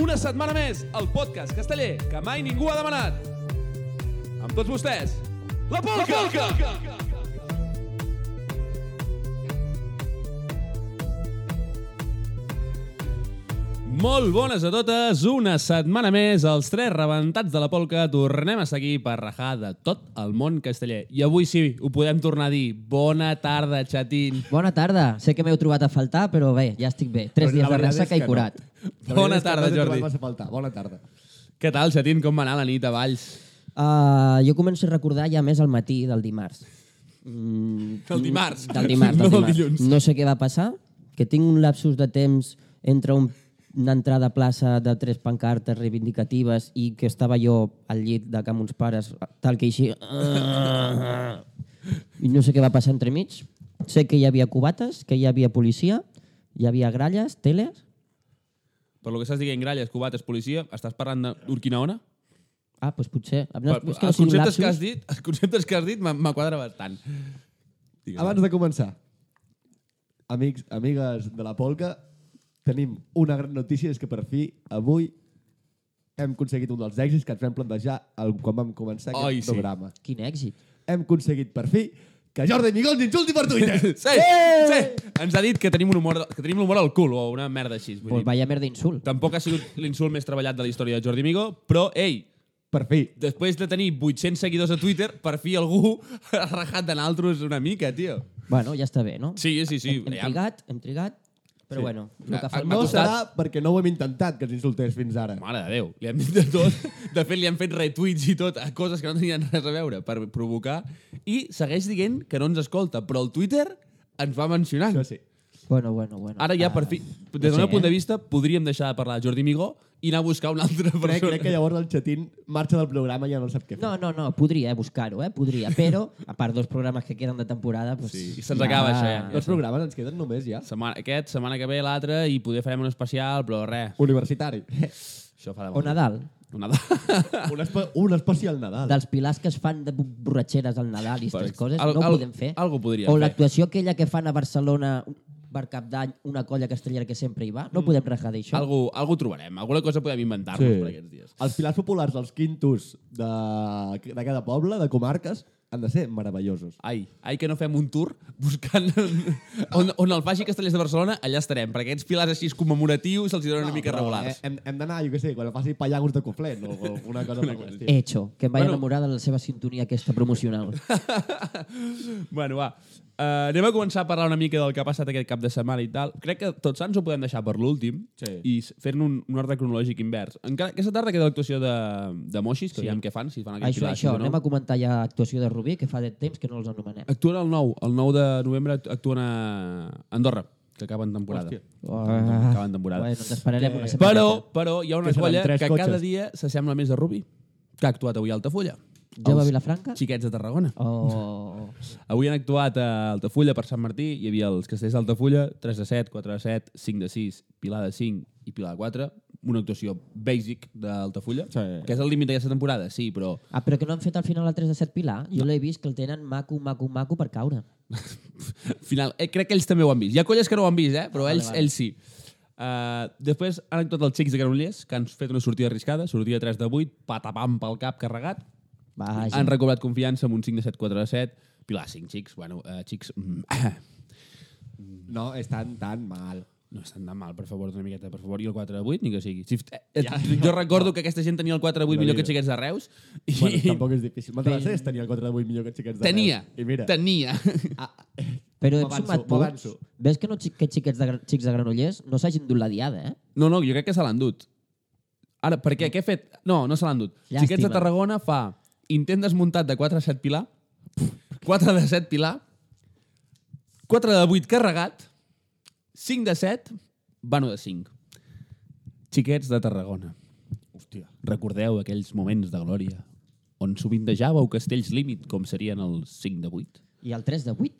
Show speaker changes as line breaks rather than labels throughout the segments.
Una setmana més, el podcast casteller que mai ningú ha demanat. Amb tots vostès, la Polca! La Polca! Molt bones a totes, una setmana més, els tres rebentats de la polca, tornem a seguir per rajar de tot el món casteller. I avui sí, ho podem tornar a dir. Bona tarda, xatín.
Bona tarda. Sé que m'heu trobat a faltar, però bé, ja estic bé. Tres
Però
dies
la
de
veritat
ressaca
és
i
que
curat.
Bona
No. La veritat és que
tarda,
no t'he trobat
Jordi.
Massa a faltar. Bona tarda.
Què tal, xatín? Com va anar la nit a Valls?
Uh, jo començo a recordar ja més al matí del dimarts. Mm,
Del dimarts.
Del dimarts, del
No del
dimarts.
dilluns.
No sé què va passar, que tinc un lapsus de temps entre un, una entrada a plaça de tres pancartes reivindicatives i que estava jo al llit de que amb uns pares, tal que així... ah, I no sé què va passar entremig. Sé que hi havia cubates, que hi havia policia, hi havia gralles, teles...
Per lo que estàs dient, gralles, cubates, policia, estàs parlant d'Urquinaona?
Ah, doncs potser... No,
No,
és que no
els,
sigui un
conceptes que
lapsus.
has dit, els conceptes que has dit m'ha- m'aquadra bastant. Digues.
Abans de començar, amics, amigues de la Polca, tenim una gran notícia, és que per fi, avui, hem aconseguit un dels èxits que ens vam plantejar el, quan vam començar aquest
Ai, sí.
programa.
Quin èxit.
Hem aconseguit, per fi, que Jordi Migol ens insulti per Twitter.
Sí, sí. Ens ha dit que tenim un humor, que tenim l'humor al cul o una merda així. Vull
Pues
dir.
vaya merda insult.
Tampoc ha sigut l'insult més treballat de la història de Jordi Migo, però, ei,
Per fi.
després de tenir 800 seguidors a Twitter, per fi algú ha rajat de naltros una mica, tio.
Bueno, ja està bé, no?
Sí, sí, sí.
Hem trigat, hem trigat, però
Sí.
sí. bueno, el que fa el
M'ha
No
costat.
serà perquè no ho hem intentat, que ens insultés fins ara.
Mare de Déu, li han dit de tot. De fet, li han fet retuits i tot a coses que no tenien res a veure per provocar. I segueix dient que no ens escolta, però el Twitter ens va mencionant.
Això sí.
Bueno, bueno, bueno.
Ara ja,
Ah,
per fi,
no
des del
sé,
meu punt de
eh?
vista, podríem deixar de parlar de Jordi Migó i anar a buscar una altra persona.
Crec, crec que llavors el xatín marxa del programa i ja no sap què fer.
No, no, no, podria eh, buscar-ho, eh? Podria, però a part dos programes que queden de temporada... Pues,
Sí, se'ns acaba això, ja.
Dos programes ens queden només ja.
Setmana, aquest, setmana que ve l'altre, i poder farem un especial, però res,
Universitari.
això fa de
O Nadal,
O Nadal.
un, espe un especial Nadal.
dels pilars que es fan de bu- borratxeres al Nadal i aquestes
ex-
coses,
al-
no
al-
ho podem fer.
algo podríem
O
fer.
l'actuació aquella que fan a Barcelona per cap d'any, una colla castellera que sempre hi va,
Mm.
no podem rajar d'això.
algú, algú trobarem, alguna cosa podem inventar-nos sí. per aquests dies.
Els pilars populars dels quintos de, de cada poble, de comarques, han de ser meravellosos.
Ai, ai que no fem un tour buscant on, on el faci Castellers de Barcelona, allà estarem, perquè aquests pilars així commemoratius se'ls hi donen no, una mica
Però,
regulars.
eh, Hem, hem d'anar, jo què sé, quan faci pallagos de coflet o alguna cosa per l'estil.
Hecho, que em vaig
Bueno.
enamorar de la seva sintonia aquesta promocional. eh.
Bueno, va. Uh, anem a començar a parlar una mica del que ha passat aquest cap de setmana i tal. Crec que tots sants ho podem deixar per l'últim
Sí.
i s- fer-ne un, un ordre cronològic invers. Encara, aquesta tarda queda l'actuació de, de Moixis, que sí. aviam què fan, si fan aquest
Això,
pilar així
això,
o no.
anem a comentar ja actuació de Rubí, que fa de temps que no els anomenem.
Actuen el 9, el 9 de novembre act- actuen a Andorra, que acaben temporada.
Hòstia.
Ah.
Acaben temporada.
Bueno, ens esperarem una setmaneta.
Però, però hi ha una
Que seran
colla que
tres
cotxes.
cotxes.
cada dia s'assembla més a Rubi, que ha actuat avui a Altafulla.
Jove
Els
Vilafranca?
Xiquets de Tarragona.
Oh.
O...
Avui han actuat a Altafulla per Sant Martí, hi havia els castells d'Altafulla, 3 de 7, 4 de 7, 5 de 6, Pilar de 5 i Pilar de 4, una actuació basic d'Altafulla,
Sí.
que és el límit d'aquesta temporada, sí, però
Ah, però que no han fet al final la 3 de 7 Pilar? Jo l'he vist que el tenen maco, maco, maco per caure.
al final, eh, crec que ells també ho han vist. Hi ha colles que no ho han vist, eh?
Ah,
però ells, ells sí. Uh, després han actuat els xics de Granollers, que han fet una sortida arriscada, sortida 3 de 8, patapam pel cap carregat,
Vaja.
Han recobrat confiança amb un 5 de 7, 4 de 7. Pilar, 5 xics. Bueno, eh, xics... mm,
No, estan tan mal.
No estan tan mal, per favor, una miqueta, per favor. I el 4 de 8, ni que sigui. Si, eh, eh, jo recordo que aquesta gent tenia el 4 de 8 millor que xiquets de Reus. I
Bueno, tampoc és difícil. M'interessés tenir el 4 de 8 millor que xiquets de
tenia,
Reus. I mira,
tenia.
ah,
Però hem
m'avanço,
sumat punts.
m'avanço.
Ves que no, xi- aquests xiquets de, Gra- xics de Granollers no s'hagin dut la diada, eh?
No, no, jo crec que se l'han dut. Ara, per què? Què he fet? No, no se l'han dut.
Llàstima.
Xiquets de Tarragona fa intent desmuntat de 4 de 7 Pilar, 4 de 7 Pilar, 4 de 8 carregat, 5 de 7, Bano de 5. Xiquets de Tarragona.
hòstia.
Recordeu aquells moments de glòria on sovintejàveu castells límit com serien els 5 de 8,
I el 3 de 8,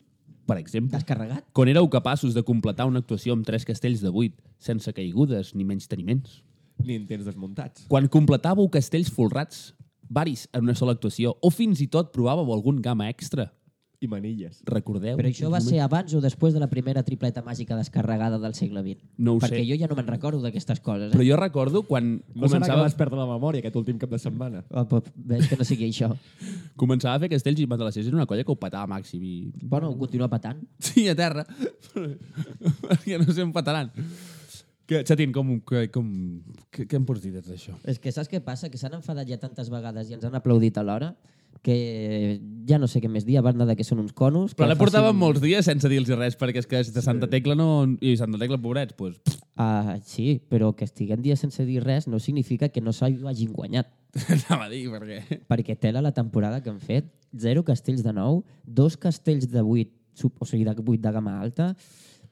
per exemple?
descarregat.
Quan éreu capaços de completar una actuació amb tres castells de 8 sense caigudes ni menys teniments?
Ni en tens desmuntats.
Quan completàveu castells folrats, varis en una sola actuació, o fins i tot provàveu algun gamma extra,
i manilles.
Recordeu?
Però això va ser abans o després de la primera tripleta màgica descarregada del segle XX?
No ho
Perquè
sé.
jo ja no me'n recordo d'aquestes coses.
Però
Eh?
jo recordo quan
No serà que
començava,
vas perdre la memòria aquest últim cap de setmana.
Oh, però veig que no sigui això.
començava a fer castells i matalassers. Era una colla que ho petava a màxim i...
Bueno, ho continua petant.
Sí, a terra. Perquè no se'n petaran. Que, Xatín, com, que, com, que, què em pots dir des d'això?
És que saps què passa? Que s'han enfadat ja tantes vegades i ens han aplaudit alhora que ja no sé què més dir, a banda de que són uns conos...
Però
que
la portàvem
facin-
molts dies sense dir-los res, perquè és que de Santa Tecla no... I Santa Tecla, pobrets, doncs... pff,
Ah, sí, però que estiguem dies sense dir res no significa que no s'ho hagin guanyat.
Anava a dir, perquè...
perquè tela la temporada que han fet, zero castells de nou, dos castells de vuit, sub, o sigui, de vuit de gamma alta,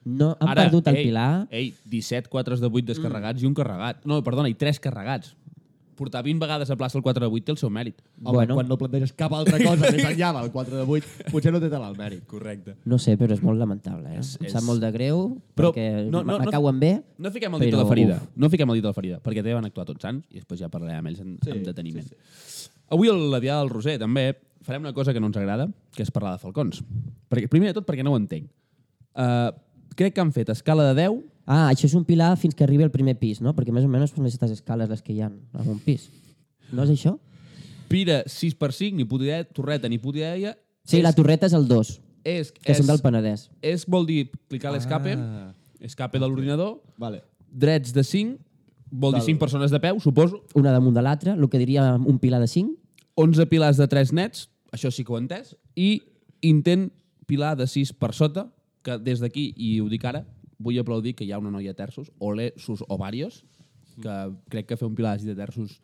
no, han Ara, perdut el
ei,
ei, Pilar, ei.
Ei, 17 4 de 8 descarregats mm. i un carregat. No, perdona, i 3 carregats. Portar 20 vegades a plaça el 4 de 8 té el seu mèrit.
Home,
Bueno.
bueno. quan no planteges cap altra cosa més enllà del 4 de 8, potser no té tal el mèrit.
Correcte.
no sé, però és molt lamentable. Eh? Em
és-
sap molt de greu,
Però
però perquè
no- no-
no, no,
no-
me cauen bé.
No fiquem el dit a la
Però,
ferida.
uf.
No fiquem el dit a la ferida, perquè també van actuar tots sants i després ja parlarem amb ells en, sí,
Sí,
amb deteniment. Sí, sí. Avui a la Diada del Roser també farem una cosa que no ens agrada, que és parlar de falcons. Perquè, primer de tot perquè no ho entenc. Uh, crec que han fet escala de 10
Ah, això és un Pilar fins que arribi al primer pis, no? Perquè més o menys són aquestes escales les que hi ha en un pis. No és això?
Pira 6x5, ni puta idea, torreta ni puta idea.
Sí,
és,
la torreta és el 2,
és,
que
és,
són del Penedès.
és, vol dir clicar a l'escape,
Ah.
escape de l'ordinador,
Vale.
drets de 5, vol dir 5 persones de peu, suposo,
Una damunt de l'altra, el que diria un Pilar de 5.
11 pilars de 3 nets, això sí que ho he entès, i intent pilar de 6 per sota, que des d'aquí, i ho dic ara, vull aplaudir que hi ha una noia a terços, ole sus ovarios, que crec que fer un pilar de sis de terços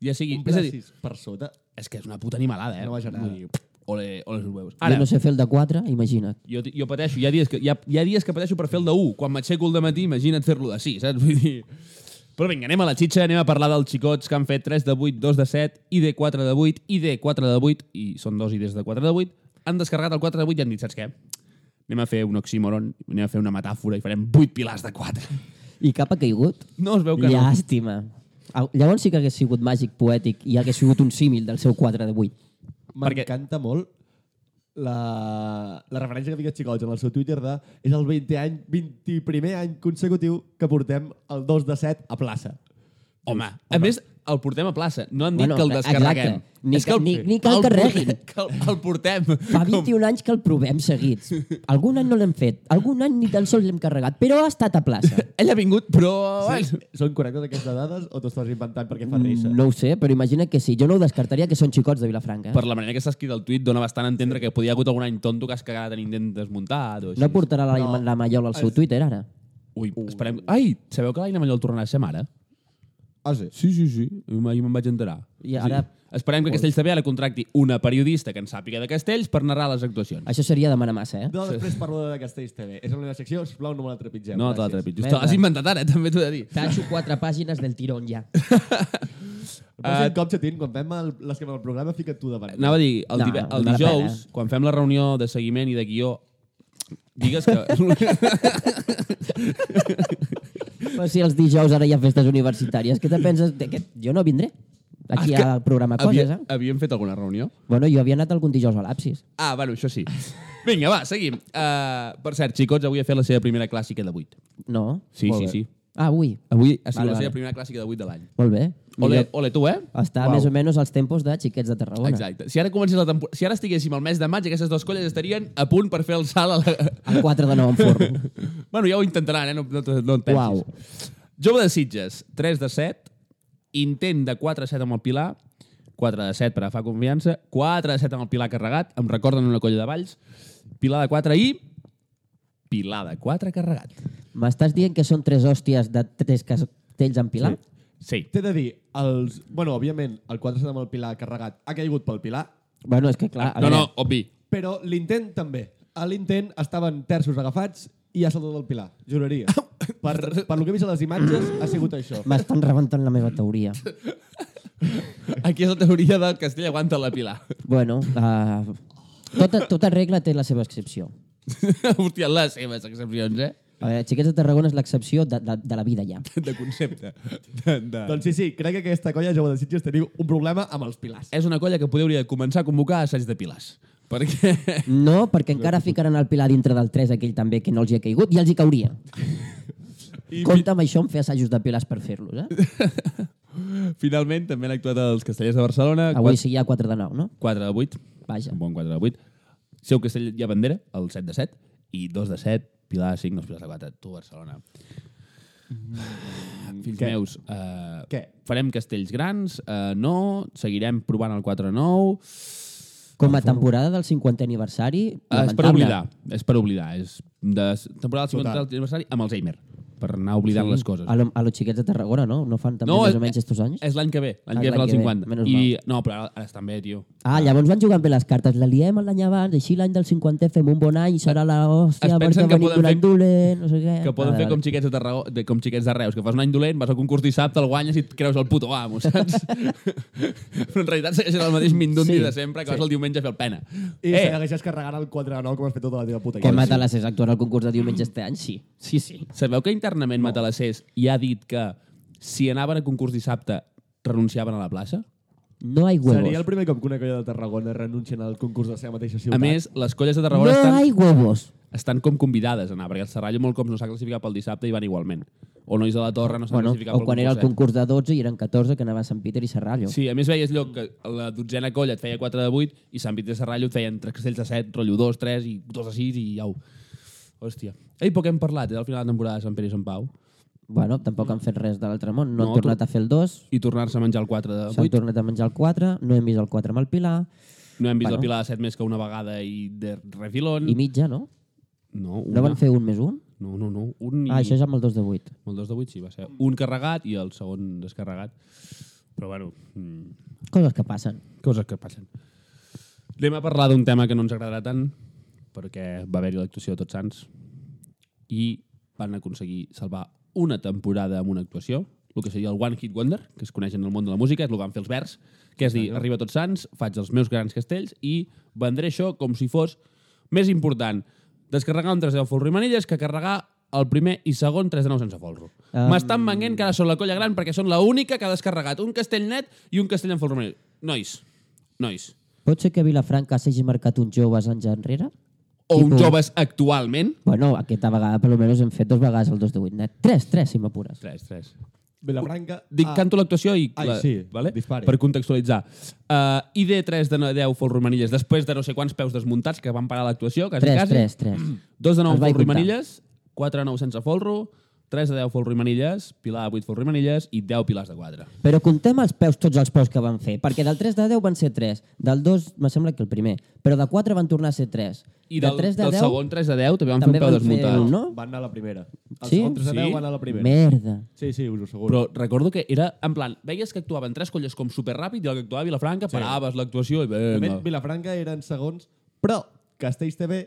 ja sigui...
Un
és,
pla
a dir,
sis per sota.
és que és una puta animalada, eh?
No vaja nada.
Vull dir, Ole, ole sus huevos.
Ara.
Ara,
Jo no sé fer el de 4, imagina't.
Jo, jo pateixo, hi ha, dies que, hi, ha, hi ha dies que pateixo per fer el de 1. Quan m'aixeco el matí, imagina't fer-lo de 6, saps? Vull dir... Però vinga, anem a la xitxa, anem a parlar dels xicots que han fet 3 de 8, 2 de 7, ID 4 de 8, ID 4 de 8, i són dos IDs de 4 de 8, han descarregat el 4 de 8 i han dit, saps què? Anem a fer un oxímoron, anem a fer una metàfora i farem 8 pilars de 4.
I cap ha caigut.
No es veu que no.
Llàstima. Au, Llavors sí que hagués sigut màgic poètic i hagués sigut un símil del seu quadre de 8.
Perquè-
M'encanta molt la, la referència que fica Xicots en el seu Twitter de és el 20 any, 21 any consecutiu que portem el 2 de 7 a plaça.
Home, a més, el portem a plaça. No han dit
Bueno,
que el
exacte.
descarreguem.
Ni
És
que-
el-
ni- ni que el
portem-
carreguin.
Que el, el portem.
Fa 21 anys que el provem seguits. Algun any no l'hem fet, algun any ni tan sols l'hem carregat, però ha estat a plaça.
Ell ha vingut, però... bueno, Mm.
Sí? Són correctes aquestes dades o t'ho estàs inventant perquè fa risa?
No ho sé, però imagina que sí. Jo no ho descartaria que són xicots de Vilafranca. eh?
per la manera que s'ha escrit el tuit dona bastant a entendre que podia haver hagut algun any tonto que has cagat en intent desmuntat o així.
No portarà la, no. la Maiola al seu Twitter ara.
Ui, esperem... Ai, sabeu que l'Aina Mallol tornarà a ser mare?
Ah, sí?
Sí, sí, sí. Ahir me'n vaig enterar.
I ara-
Sí. Esperem que Castells TV ara contracti una periodista que en sàpiga de Castells per narrar les actuacions.
Això seria demanar massa, eh?
No, després parlo de Castells TV. És la meva secció, sisplau, no me la trepitgeu.
No te la
Gràcies.
trepitjo.
Merda.
Te l'has inventat ara, també t'ho he de dir.
Tacho quatre pàgines del tirón ja.
El pròxim cop, Xatín, quan fem el, l'esquema del programa, fica't tu davant.
Anava a dir, el, Ah,
No,
no, eh?
no
el
val la
dijous, quan fem la reunió de seguiment i de guió, digues que...
Però si els dijous ara hi ha festes universitàries, què te penses? De que jo no vindré
Ah, és
aquí
que
al programa Coses,
Havia,
eh?
havíem fet alguna reunió?
Bueno, jo havia anat algun dijous a l'Apsis.
Ah, bueno, això sí. Vinga, va, seguim. Uh, per cert, Xicots avui ha fet la seva primera clàssica de 8.
No?
Sí,
Molt
sí,
bé.
sí.
Ah, avui.
Avui ha sigut
Vale,
la seva
vale.
primera clàssica de 8 de l'any.
Molt bé.
Ole,
Millor.
ole tu, eh?
Està
Uau.
més o menys als tempos de Xiquets de Tarragona.
Exacte. Si ara comencés la temporada... Si ara estiguéssim al mes de maig, aquestes dues colles estarien a punt per fer el salt a la...
El 4 de 9 en forn.
bueno, ja ho intentaran, eh? No, no, no et pensis.
Uau.
Jove de Sitges, 3 de 7. Intent de 4 de 7 amb el Pilar. 4 de 7 per agafar confiança. 4 de 7 amb el Pilar carregat. Em recorden una colla de valls. Pilar de 4 i... Pilar de 4 carregat.
M'estàs dient que són tres hòsties de tres castells en Pilar? Sí.
Sí.
T'he de dir, els... Bueno, òbviament, el 4 amb el Pilar carregat ha caigut pel Pilar,
Bueno, és que clar... a
No,
veure,
no, obvi.
però l'intent també. A l'intent estaven terços agafats i ha saltat el Pilar, juraria. Per, per lo que he vist a les imatges, ha sigut això.
M'estan rebentant la meva teoria.
Aquí és la teoria del castell aguanta la Pilar.
Bueno, uh, tota, tota regla té la seva excepció.
Hòstia, les seves excepcions, eh?
A veure, Xiquets de Tarragona és l'excepció de, de, de la vida ja.
De concepte. De, de...
Doncs sí, sí, crec que aquesta colla jove de Sitges teniu un problema amb els Pilars.
És una colla que podeu hauria de començar a convocar assaig de pilars. Perquè...
No, perquè encara ficaran el Pilar dintre del 3 aquell també que no els hi ha caigut i els hi cauria.
I
Compte amb això en fer assajos de pilars per fer-los, eh?
fi- finalment també han actuat els castellers de Barcelona.
Avui sí hi ha 4 de 9, no?
4 de 8.
Vaja.
Un bon 4 de 8. Seu Castell hi ha bandera, el 7 de 7, i 2 de 7, Pilar de 5, no és Pilar de 4, tu Barcelona.
Mm.
Fills
Què?
meus, eh,
Què?
farem castells grans, eh, no, seguirem provant el 4 9,
Com a temporada del 50è aniversari,
eh, és per
lamentable.
oblidar, és per oblidar, és de s- temporada del 50
Total.
aniversari amb Alzheimer, per anar oblidant sí. les coses.
A, lo, a los xiquets de Tarragona, no? No fan també
No,
no, més
és-
o menys estos anys?
És l'any que ve, l'any
Ah,
que ve
l'any
farà el
que ve,
50.
menys
I, no, però ara, ara estan bé, tio.
Ah, llavors van jugant bé les cartes. La liem l'any abans, així l'any del 50 fem un bon any, serà la hòstia,
Es pensen
perquè
que
venim
poden
d'un
fer-
any dolent, no sé què...
Que poden
Vale,
fer com
vale.
xiquets de, Tarragó, de, com xiquets de Reus, que fas un any dolent, vas al concurs dissabte, el guanyes i et creus el puto amo, saps? Però en realitat segueixes el mateix mindundi
Sí,
sí, de sempre que sí. vas el diumenge a fer el pena.
I
eh,
segueixes carregant el 4 de 9 com has fet tota la teva puta
Que
vida.
Matalas és actuarà al concurs de diumenge este any? Sí. Sí, sí.
sabeu que internament no. Matalassés ja ha dit que si anaven a concurs dissabte renunciaven a la plaça?
No hay huevos.
Seria el primer cop que una colla de Tarragona renuncien al concurs de la seva mateixa ciutat.
A més, les colles de
No
Tarragona estan,
hay huevos.
estan com convidades a anar, perquè el Serrallo molt com no s'ha classificat pel dissabte i van igualment. O Nois de la Torre no s'ha
Bueno,
classificat
o
pel eh?
quan era el
concurset.
concurs de 12 i eren 14 que anava a Sant Peter i Serrallo.
Sí, a més veies lloc que la dotzena colla et feia 4 de 8 i Sant Vitor de Serrallo et feien 3 castells de 7, rotllo 2, 3 i 2 de 6 i au. Hòstia. Ei, poc hem parlat, és al final de la temporada de Sant Pere i Sant Pau.
Bueno, tampoc han fet res de l'altre món. No,
No,
han tornat
tu-
a fer el 2,
I tornar-se a menjar el 4 de
s'han
8.
tornat a menjar el 4, no hem vist el 4 amb el Pilar,
No hem vist
Bueno.
la pila de 7 més que una vegada i de refilón.
i mitja, no?
No, Mm. una.
No van fer un més un?
No, no, no. Un i...
Ah, això és amb el 2 de 8.
El 2 de 8 sí, va ser un carregat i el segon descarregat. Però bueno, mm,
Coses que passen.
coses que passen. Anem a parlar d'un tema que no ens agradarà tant, perquè va haver-hi l'actuació de Tots Sants i van aconseguir salvar una temporada amb una actuació, el que seria el One Hit Wonder, que es coneix en el món de la música, és el que van fer els verds, que és dir, arriba a Tots Sants, faig els meus grans castells i vendré això com si fos més important descarregar un 3 de 10 folro i manilles que carregar el primer i segon 3 de 9 sense folro.
Ah.
M'estan venguent que ara són la colla gran perquè són la única que ha descarregat un castell net i un castell en folro i manilles. Nois, nois,
Pot ser que a Vilafranca s'hagi marcat uns joves anys enrere?
o uns
Tipus-
joves actualment...
Bueno, aquesta vegada per almenys hem fet dos vegades el 2 de 8 net. Tres, tres, si m'apures.
3, 3.
Vilafranca...
Dic, ah. canto l'actuació i...
Ai,
la,
sí,
vale?
dispari.
Per contextualitzar. Uh, ID 3 de 10 folro i manilles, després de no sé quants peus desmuntats que van parar l'actuació, quasi,
Tres,
quasi.
tres, tres.
2 de 9
Els
folro
vaig
i
comptar.
manilles, 4 de 9 sense folro, 3 de 10 folro i manilles, pilar de 8 folro i manilles i 10 pilars de 4.
Però contem els peus, tots els peus que van fer, perquè del 3 de 10 van ser 3, del 2 me sembla que el primer, però de 4 van tornar a ser 3.
I del,
de 3 de
del
10,
segon 3 de 10 també van
també
fer un peu
van fer
desmuntat.
un,
no?
no?
Van anar a la primera. Els
Sí?
sí? altres de 10
Sí.
van anar a la primera.
merda.
Sí, sí, us ho asseguro.
Però recordo que era, en plan, veies que actuaven tres colles com superràpid i el que actuava a Vilafranca, sí. paraves l'actuació i
De fet,
vinga.
Vilafranca eren segons, però Castells TV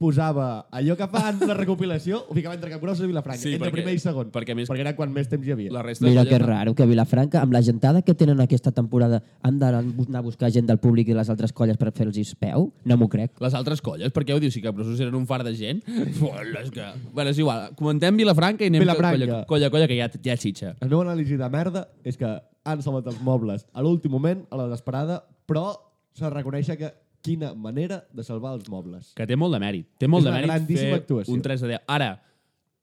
posava allò que fan la recopilació, ho ficava entre Capgrossos i Vilafranca,
Sí,
entre
perquè-
primer i segon,
perquè a més-
perquè era quan més temps hi havia.
La resta de
Mira
colles
que
no-
raro que Vilafranca, amb la gentada que tenen aquesta temporada, han d'anar a buscar gent del públic i de les altres colles per fer-los peu? No m'ho crec.
Les altres colles, per què ho dius? Sí que Brossos eren un far de gent? Bueno, és que... Bueno, és igual. Comentem Vilafranca i anem
Vilafranca.
Colla, colla, colla, que ja, ja xitxa.
El meu anàlisi de merda és que han salvat els mobles a l'últim moment, a la desesperada, però s'ha de reconèixer que quina manera de salvar els mobles.
Que té molt de mèrit. Té molt
És
de
una
mèrit
grandíssima
fer
actuació.
un 3 de 10. Ara,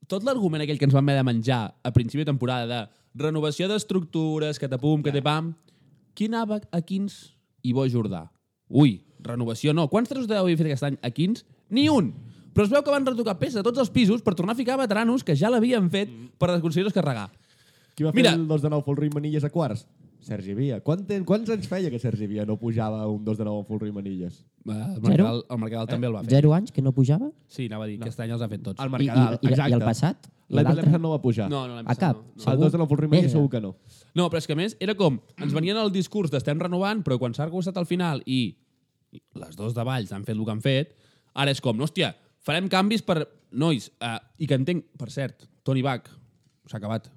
tot l'argument aquell que ens vam haver de menjar a principi de temporada de renovació d'estructures, que tapum, que te pam... Qui anava a 15 i Bo Jordà? Ui, renovació no. Quants 3 de 10 havia fet aquest any a 15? Ni un! Però es veu que van retocar peça a tots els pisos per tornar a ficar veteranos que ja l'havien fet per aconseguir-los carregar.
Qui va
Mira.
fer el 2 de 9 Folro i Manilles a quarts? Sergi Via. Quant ten, quants anys feia que Sergi Via no pujava un 2 de 9 amb Folro i Manilles?
Eh, El
Zero?
Mercadal, el Mercadal també el va fer.
Zero anys que no pujava?
Sí, anava a dir, no. aquest any els ha fet tots.
Al
I, i,
Mercadal,
i,
exacte.
I el passat? I
L'any
l'altre?
passat no va pujar.
No, no, l'hem
A cap?
No.
El 2 de 9 Folro i Manilles
Merda.
segur que no.
no, però és que a més era com, ens venien el discurs d'estem renovant, però quan s'ha gustat al final i i les dos de Valls han fet el que han fet, ara és com, hòstia, farem canvis per... Nois, uh, i que entenc, per cert, Toni Bach, s'ha acabat.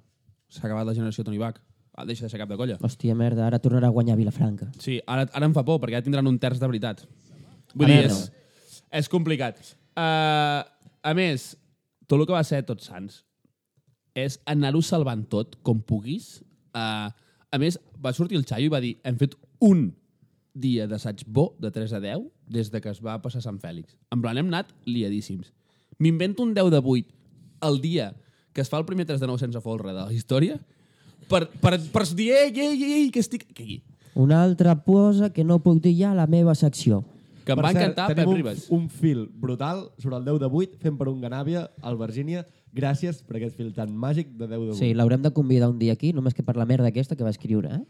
S'ha acabat la generació Toni Bach. Ah, deixa de ser cap de colla.
Hòstia, merda, ara tornarà a guanyar Vilafranca.
Sí, ara, ara em fa por, perquè ja tindran un terç de veritat. Vull
Ara
dir,
no.
és, és complicat. Uh, a més, tot el que va ser Tots Sants és anar-ho salvant Eh, tot, com puguis. Uh, a més, va sortir el Xaio i va dir hem fet un dia d'assaig bo de 3 a 10 des de que es va passar Sant Fèlix. En plan, hem anat liadíssims. M'invento un 10 de 8 el dia que es fa el primer 3 de 9 sense folre de la història per, per, per dir, ei, ei, ei, ei, que estic aquí.
Una altra cosa que no puc dir ja a la meva secció.
Que em
Per
va
cert,
encantar
tenim
Pep
un,
Ribas.
un fil brutal sobre el 10 de 8, fent per un ganàvia al Virgínia. Gràcies per aquest fil tan màgic de 10 de 8.
Sí, l'haurem de convidar un dia aquí, només que per la merda aquesta que va escriure, eh?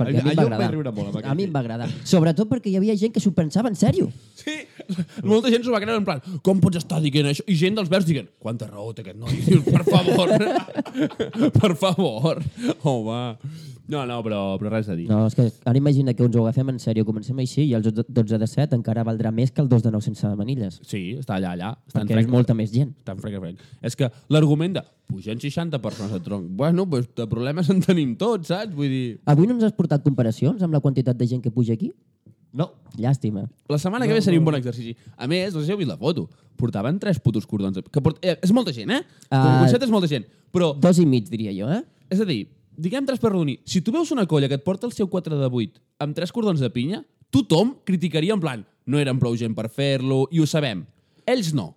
Perquè a,
A-
mi em va
a mi em va
agradar.
riure molt, amb aquest
a mi em
tio.
va agradar. Sobretot perquè hi havia gent que s'ho pensava en sèrio.
Sí, molta gent s'ho va creure en plan, com pots estar dient això? I gent dels verds dient, quanta raó té aquest noi? I Dius, per favor, per favor. Home, no, no, però, però res a dir.
No, és que ara imagina que ens ho agafem en sèrio, comencem així i el 12 de 7 encara valdrà més que el 2 de 9 sense manilles.
Sí, està allà, allà. Està en
Perquè és
franc-
molta més gent.
Tan frec, frec. És que l'argument de pugen 60 persones a tronc, bueno, pues de problemes en tenim tots, saps? Vull dir...
Avui no ens has portat comparacions amb la quantitat de gent que puja aquí?
No,
Llàstima.
La setmana que ve seria un bon exercici. A més, no sé si heu vist la foto, portaven tres putos cordons. de- Que port... eh, és molta gent, eh? Ah.
Ah.
El concepte és molta gent. Però,
Dos i mig, diria jo, eh?
és a dir, diguem tres per reunir. Si tu veus una colla que et porta el seu 4 de 8 amb tres cordons de pinya, tothom criticaria en plan no eren prou gent per fer-lo i ho sabem. Ells no.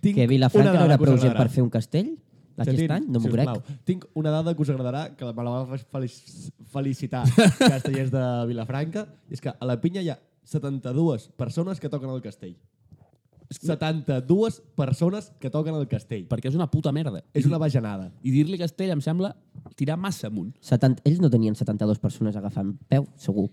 tinc
que
una
Vilafranca no
dada
era
que us
prou gent
agradarà.
per fer un castell? Aquest
Chatín,
any? No m'ho crec.
sisplau, Tinc una dada que us agradarà, que me la va felici- felicitar castellers de Vilafranca, i és que a la pinya hi ha 72 persones que toquen el castell. 72 persones que toquen el castell.
Perquè és una puta merda.
És una bajanada.
I dir-li castell em sembla tirar massa amunt.
70, ells no tenien 72 persones agafant peu, segur.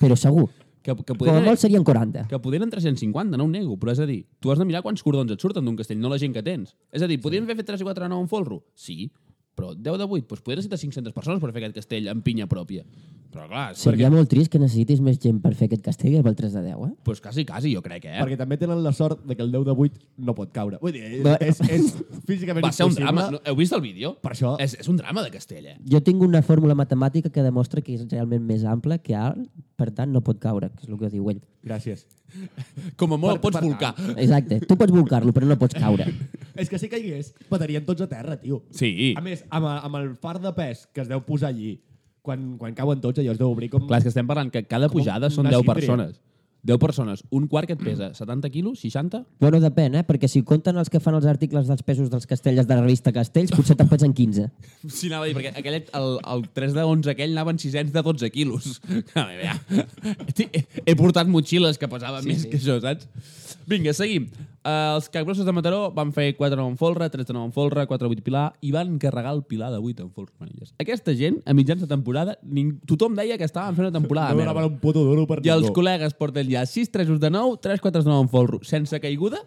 Però segur.
Que, que
Com a
podrien-
molt serien 40.
Que podrien en 350, no ho nego, però és a dir, tu has de mirar quants cordons et surten d'un castell, no la gent que tens. És a dir, podrien haver fet 3 i 4 a 9 en folro? Sí, però 10 de 8, doncs podrien necessitar 500 persones per fer aquest castell amb pinya pròpia. Però clar, sí.
Seria molt trist que necessitis més gent per fer aquest castell que pel 3 de 10, eh?
Pues doncs quasi, quasi, jo crec, eh?
Perquè també tenen la sort de que el 10 de 8 no pot caure. Vull dir,
Va-
és, és físicament
Va ser un drama. No,
impossible.
heu vist el vídeo?
Per això-
És, és un drama de castell, eh?
Jo tinc una fórmula matemàtica que demostra que és realment més ample que alt, per tant no pot caure, que és el que diu ell.
Gràcies.
Com a molt
Per-
pots
per-
volcar.
Exacte, tu pots volcar-lo però no pots caure.
És que si caigués, patarien tots a terra, tio.
Sí.
A més, amb, amb el far de pes que es deu posar allí, quan, quan cauen tots, allò es deu obrir com...
Clar, és que estem parlant que cada pujada són
una
10
cítria.
persones. 10 persones. Un quart que et pesa 70 quilos, 60?
Bueno, depèn, eh? Perquè si compten els que fan els articles dels pesos dels castells de la revista Castells, potser te'n pesen 15.
Sí, anava a dir, perquè aquell, el, el 3 de 11 aquell anaven sisens de 12 quilos. A veure, ja. Estic- he, he portat motxilles que pesaven sí, més sí. que això, saps? Vinga, seguim. Uh, els capgrossos de Mataró van fer 4 9 en folre, 3 de 9 en folre, 4 8 pilar i van carregar el pilar de 8 en folre manilles. Aquesta gent, a mitjans de temporada, ning... tothom deia que estaven fent una temporada
No
de merda.
donaven un puto duro per
I els
ningú.
col·legues porten ja 6 3 de 9, 3 4 de 9 en folro, sense caiguda,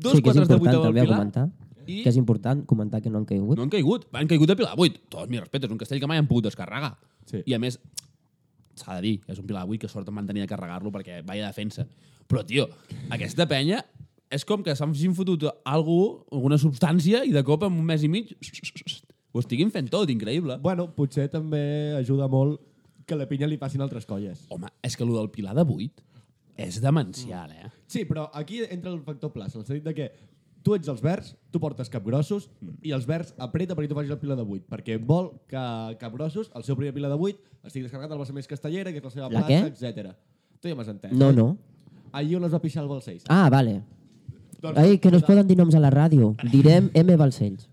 2
Sí, que és
4 de 8
important
en
també a
pilar
comentar.
i-
Que és important comentar que no han caigut.
no han caigut. Han caigut a Pilar 8. Tots mis respectes, un castell que mai han pogut descarregar.
Sí.
I a més, s'ha de dir, és un Pilar 8 que sort em van tenir de carregar-lo perquè vaya defensa. Però, tio, aquesta penya és com que s'han s'han fotut algú, alguna substància, i de cop en un mes i mig ho estiguin fent tot, increïble.
Bueno, potser també ajuda molt que a la pinya li facin altres colles.
Home, és que el del Pilar de 8 és demencial, eh?
Sí, però aquí entra el factor plaça, en el sentit de que tu ets els verds, tu portes capgrossos i els verds apreta perquè tu facis la pila de 8, perquè vol que capgrossos, el seu primer pila de 8, estigui descarregat al Balsamés Castellera, que és la seva
La
plaça,
què?
etc. Tu ja m'has entès.
No, no.
Allí on es va pixar el Doncs Balseix.
Ah, vale.
Doncs
Ai, que no es poden dir noms a la ràdio. Direm M. Balcells.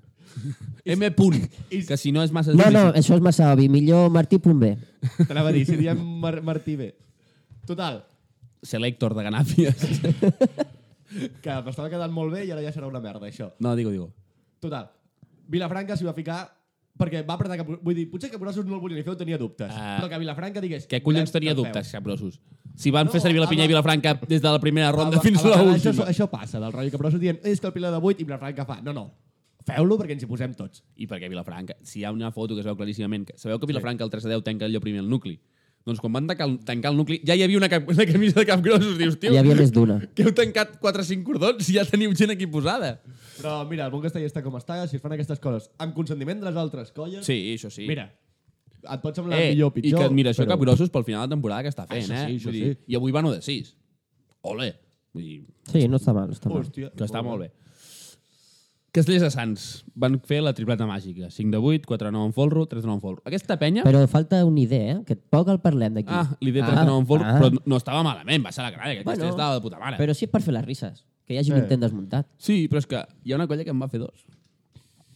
M punt, que si no és massa...
No, no, eh.
difícil.
això és massa obvi. Millor Martí punt B.
T'anava a dir, si diem Mar Martí B. Total,
Selector de ganàfies.
que m'estava quedant molt bé i ara ja serà una merda, això.
no, digo, digo.
Total, Vilafranca s'hi va ficar perquè va apretar cap... Vull dir, potser que Brossos no el volia ni fer, ho tenia dubtes.
Ah.
però que Vilafranca digués...
Què collons
"Volem
tenia
que el
dubtes,
feu".
capgrossos? Si van
No,
no, fer servir la pinya
a
i
la-
Vilafranca des de la primera ronda
A-
fins
a
a
vegades
l'última.
Això, això passa, del rotllo que Brossos dient és que el Pilar de 8 i Vilafranca fa... No, no, feu-lo perquè ens hi posem tots.
I perquè Vilafranca, si hi ha una foto que es veu claríssimament, que sabeu que Vilafranca el 3 de 10 tanca allò primer el nucli. Doncs quan van tancar, el- tancar el nucli ja hi havia una, cap, una camisa de capgrossos, dius, tio,
Hi havia més d'una.
que heu tancat 4 o 5 cordons i ja teniu gent aquí posada.
Però mira, el bon castell està com està, si es fan aquestes coses amb consentiment de les altres colles...
Sí, això sí.
Mira, et pot semblar
eh,
millor o pitjor...
I que admiració
però-
però... capgrossos pel final de temporada que està fent,
Això sí,
eh?
això
Vull dir,
sí.
I avui van-ho de 6. Ole. Vull dir,
Sí, no està mal, està mal.
Hòstia,
que està molt bé. Castellers de Sants van fer la tripleta màgica. 5 de 8, 4 de 9 en folro, 3 de 9 en folro. Aquesta penya...
Però falta una idea, eh? que poc el parlem d'aquí.
Ah, li deia 3 de 9 en folro, però no- no estava malament, va ser la gralla, que aquesta
Bueno,
estava de puta mare.
Però sí és per fer les risses, que hi hagi un
Eh.
intent desmuntat.
Sí, però és que hi ha una colla que en va fer dos.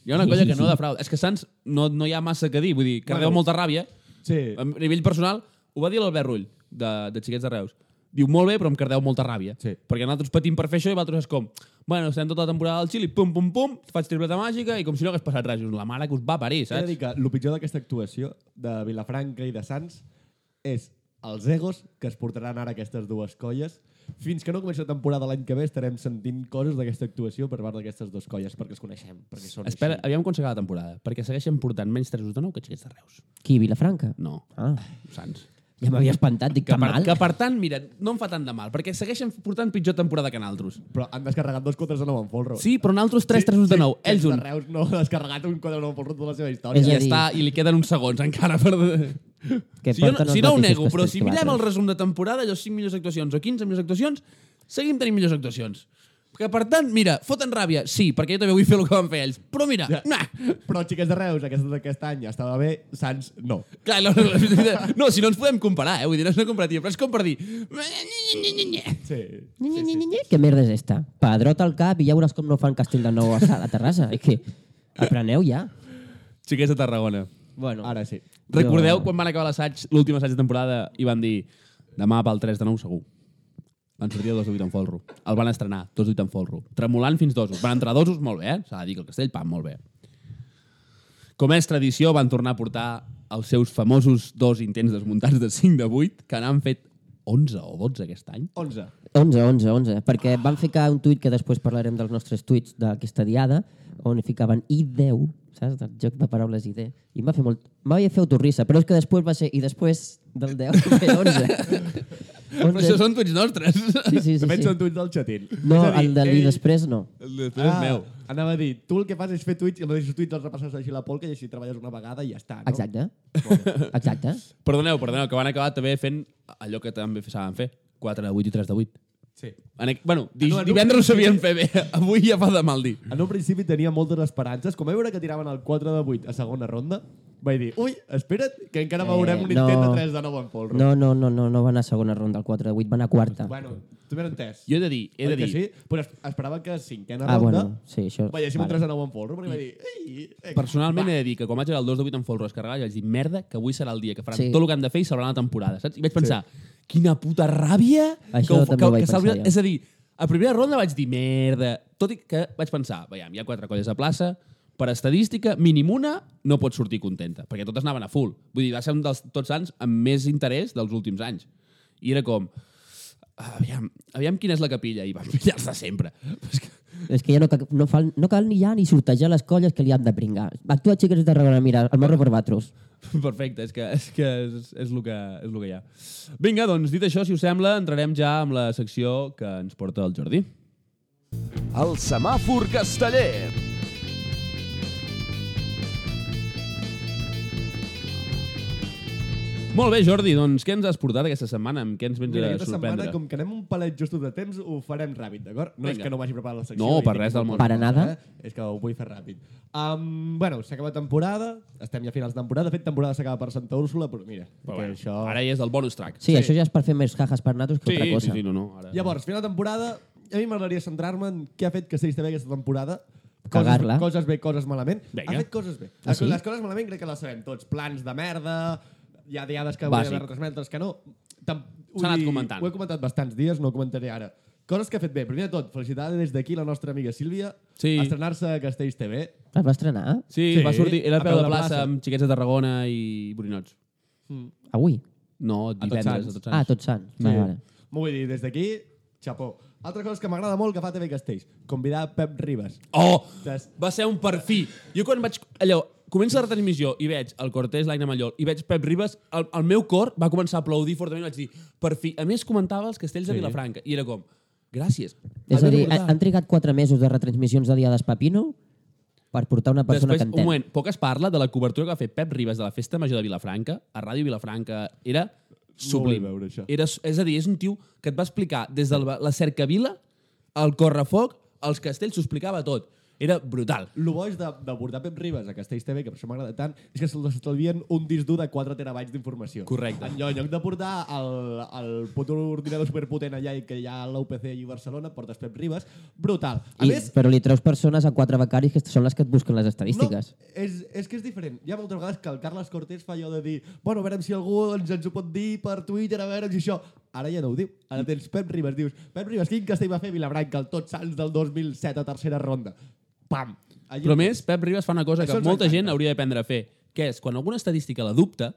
Hi ha una colla que no defrauda. És que Sants no, no hi ha massa que dir. Vull dir, que bueno.
Bueno.
molta ràbia.
Sí.
A nivell personal, ho va dir l'Albert Rull, de, de Xiquets de Reus. Diu, molt bé, però em cardeu molta ràbia.
Sí.
Perquè nosaltres patim per fer això i vosaltres és com, bueno, estem tota la temporada al Xili, pum, pum, pum, faig tripleta màgica i com si no hagués passat res. Dius, La mare que us va parir,
He de
saps?
dir que el pitjor d'aquesta actuació de Vilafranca i de Sants és els egos que es portaran ara aquestes dues colles. Fins que no comenci la temporada l'any que ve estarem sentint coses d'aquesta actuació per part d'aquestes dues colles, perquè es coneixem, perquè són
Espera,
així.
aviam quan s'acaba la temporada, perquè segueixen portant menys 3 de 9 que Xiquets de Reus.
Qui, Vilafranca?
No,
Ah,
Sants.
ja m'havia espantat, dic
Que
que,
per,
mal.
que per tant, mira, no em fa tant de mal, perquè segueixen portant pitjor temporada que naltros.
Però han descarregat dos quotes de nou en folro.
Sí, però naltros 3 3 de 9, ells
Els
un.
de Reus no ha descarregat un quadre de nou en folro tota la seva
És
I
a
història.
ja
dir-
està, i li queden uns segons encara per...
Que
si, jo no,
porten els
si no ho
mateixos
nego, però
castells
si
que
mirem el
vosaltres.
resum de temporada, allò 5 millors actuacions o 15 millors actuacions, seguim tenint millors actuacions. Que, per tant, mira, foten ràbia, sí, perquè jo també vull fer el que van fer ells. Però mira, ja. nah,
Però xiques de Reus, aquesta d'aquest any estava bé, Sants no.
clar, no, no, no, no, si no ens podem comparar, eh? Vull dir, no és una comparativa, però és com per dir...
Sí.
Ni, ni, ni, ni, ni. Que merda és esta? Pedrot al cap i ja veuràs com no fan castell de nou a, Sa- a Terrassa. És que apreneu ja.
Xiquets de Tarragona.
Bueno,
Ara sí.
Recordeu quan van acabar l'assaig, l'últim assaig de temporada, i van dir demà pel 3 de 9 segur. Van sortir a 2 de 8 en folro. El van estrenar, 2 de 8 en folro. Tremolant fins dosos. Van entrar dosos, molt bé, eh? S'ha de dir que el castell, pam, molt bé. Com és tradició, van tornar a portar els seus famosos dos intents desmuntats de 5 de 8, que n'han fet 11 o 12 aquest any.
11.
11, 11, 11. Perquè van ficar un tuit que després parlarem dels nostres tuits d'aquesta diada, on hi ficaven I10, saps? Del joc de paraules ID. I em va fer molt... M'havia fet autorrissa, però és que després va ser... I després del 10 va ser 11. 11.
Però això són tuits nostres.
Sí, sí,
Sí,
sí.
de fet,
sí.
són tuits del xatín.
No,
És a dir,
el de l'I
ell-
després no.
El després ah. és meu.
Anava a dir, tu el que fas és fer tuits i els mateixos tuits els repasses així a la polca i així treballes una vegada i ja està, no?
Exacte. Exacte.
Perdoneu, perdoneu, que van acabar també fent allò que també saben fer. 4 de 8 i 3 de 8.
Sí.
En, aqu- bueno, di, Ah,
No,
no,
en un
divendres ho sabien fer bé. Avui ja fa de mal dir.
En un principi tenia moltes esperances. Com vaig veure que tiraven el 4 de 8 a segona ronda, vaig dir, ui, espera't, que encara
Eh,
veurem un
no.
intent de 3 de 9 en polro.
No, no, no, no, no van a segona ronda, el 4 de 8, van a quarta.
Bueno, tu m'he entès.
Jo he de dir, he de
Oi que
dir,
Sí? Però es- esperava que cinquena
Ah,
ronda
bueno, sí, això...
veiéssim un
vale.
3 de 9 en polro, perquè vaig dir, ei, eh,
personalment he de dir que quan vaig veure el 2 de 8 en folro descarregar, ja vaig dir, merda, que avui serà el dia que faran
Sí.
tot el que han de fer i salvaran la temporada, saps? I vaig pensar, quina puta ràbia!
Això
que, ho-
també
que,
ho vaig
que s'ha
pensar
oblidat-
jo.
És a dir, a primera ronda vaig dir, merda, tot i que vaig pensar, veiem, hi ha quatre colles a plaça, per estadística, mínim una no pot sortir contenta, perquè totes anaven a full. Vull dir, va ser un dels tots sants amb més interès dels últims anys. I era com, aviam, aviam quina és la capilla, i van pillar-se sempre. Però és que
És que ja no, ca- no, fal, no cal ni ja ni sortejar les colles que li han de pringar. Actua xiques de Tarragona, mira, el morro per batros.
Perfecte, és que és, que és, és, el que, és el que hi ha. Vinga, doncs, dit això, si us sembla, entrarem ja amb la secció que ens porta el Jordi.
El semàfor casteller.
Molt bé, Jordi, doncs què ens has portat aquesta setmana? Amb què ens vens
Mira,
a
aquesta
sorprendre?
setmana, com que anem un palet justos de temps, ho farem ràpid, d'acord? No és
Vinga.
que no m'hagi preparat la secció.
No,
i
per
tinc
res del món.
moltes
Per a
coses,
nada.
eh? És que ho vull fer ràpid. Um, bueno, s'acaba temporada, estem ja a finals de temporada. De fet, temporada s'acaba per Santa Úrsula, però mira,
Però
que
bueno,
això...
Ara ja és el bonus track.
Sí, sí, això ja és per fer més jajas per natos que
sí,
altra cosa.
sí, sí, no, no. Ara...
Llavors, final de temporada, a mi m'agradaria centrar-me en què ha fet Castells de Bé aquesta temporada. Coses-
Cagar-la.
Coses bé, coses malament.
Vinga.
Ha fet coses bé.
Ah, sí?
Les coses malament crec que les sabem tots. Plans de merda, hi ha diades que
Bàsic.
volia haver retransmetre, que no. Tam- ho
S'ha anat
he-
comentant.
Ho he comentat bastants dies, no ho comentaré ara. Coses que ha fet bé. Primer de tot, felicitar des d'aquí la nostra amiga Sílvia
Sí.
a estrenar-se a Castells TV.
Es va estrenar
Sí,
Sí,
va sortir, era a peu de plaça,
plaça.
amb xiquets de Tarragona i borinots.
avui.
No, divendres, a tots
Ah,
anys.
tots sants. Vale, vale.
M'ho vull dir, des d'aquí, xapó. Altra cosa que m'agrada molt que fa TV Castells, convidar Pep Ribas.
Oh,
Des-
va ser un perfí. Jo quan vaig... Allò, comença la retransmissió i veig el Cortés, l'Aina Mallol, i veig Pep Ribas, el, el meu cor va començar a aplaudir fortament i vaig dir, per fi. A més, comentava els castells sí. de Vilafranca. I era com, gràcies.
És
Has
a
de
dir,
portar-
han, han trigat quatre mesos de retransmissions de Diades Papino per portar una persona
Després,
que
un
entén.
moment, poc es parla de la cobertura que va fer Pep Ribas de la Festa Major de Vilafranca, a Ràdio Vilafranca. Era sublim.
vull veure això.
Era, su- és a dir, és un tio que et va explicar des de la cercavila, el correfoc, els castells, s'ho explicava tot. Era brutal.
El bo és de- d'abordar Pep Ribas a Castells TV, que per això m'agrada tant, és que se'ls estalvien un disc dur de 4 terabytes d'informació.
Correcte.
En, lloc- en lloc de portar el, el puto ordinador superpotent allà i que hi ha a l'UPC i Barcelona, portes Pep Ribas. Brutal. A
I,
més,
però li treus persones a quatre becaris que són les que et busquen les estadístiques.
No, és, és que és diferent. Hi ha moltes vegades que el Carles Cortés fa allò de dir bueno, a veure si algú ens, ens ho pot dir per Twitter, a veure si això... Ara ja no ho diu. Ara tens Pep Ribas. Dius, Pep Ribas, quin castell va fer Vilabranca el Tots Sants del 2007 a tercera ronda? Pam! Allí
Però a més, Pep Ribas fa una cosa
Això
que
ens
molta
encanta.
gent hauria d'aprendre a fer, que és, quan alguna estadística la dubta,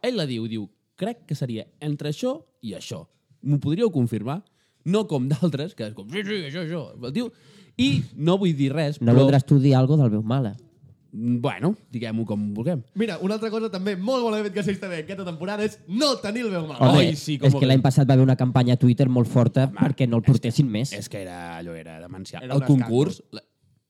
ell la diu, diu, crec que seria entre això i això. M'ho podríeu confirmar? No com d'altres, que és com, sí, sí, això, això. El diu, i no vull dir res,
No, no
però,
voldràs tu dir alguna del meu mala.
bueno, diguem-ho com vulguem.
Mira, una altra cosa també molt bona que s'ha també aquesta temporada és no tenir el meu mal.
Home,
Oi,
Ai, sí, com
és
ho
que l'any passat va haver una campanya a Twitter molt forta perquè no el portessin més.
És que era, allò era demencial.
Era
Era el
un
concurs, la,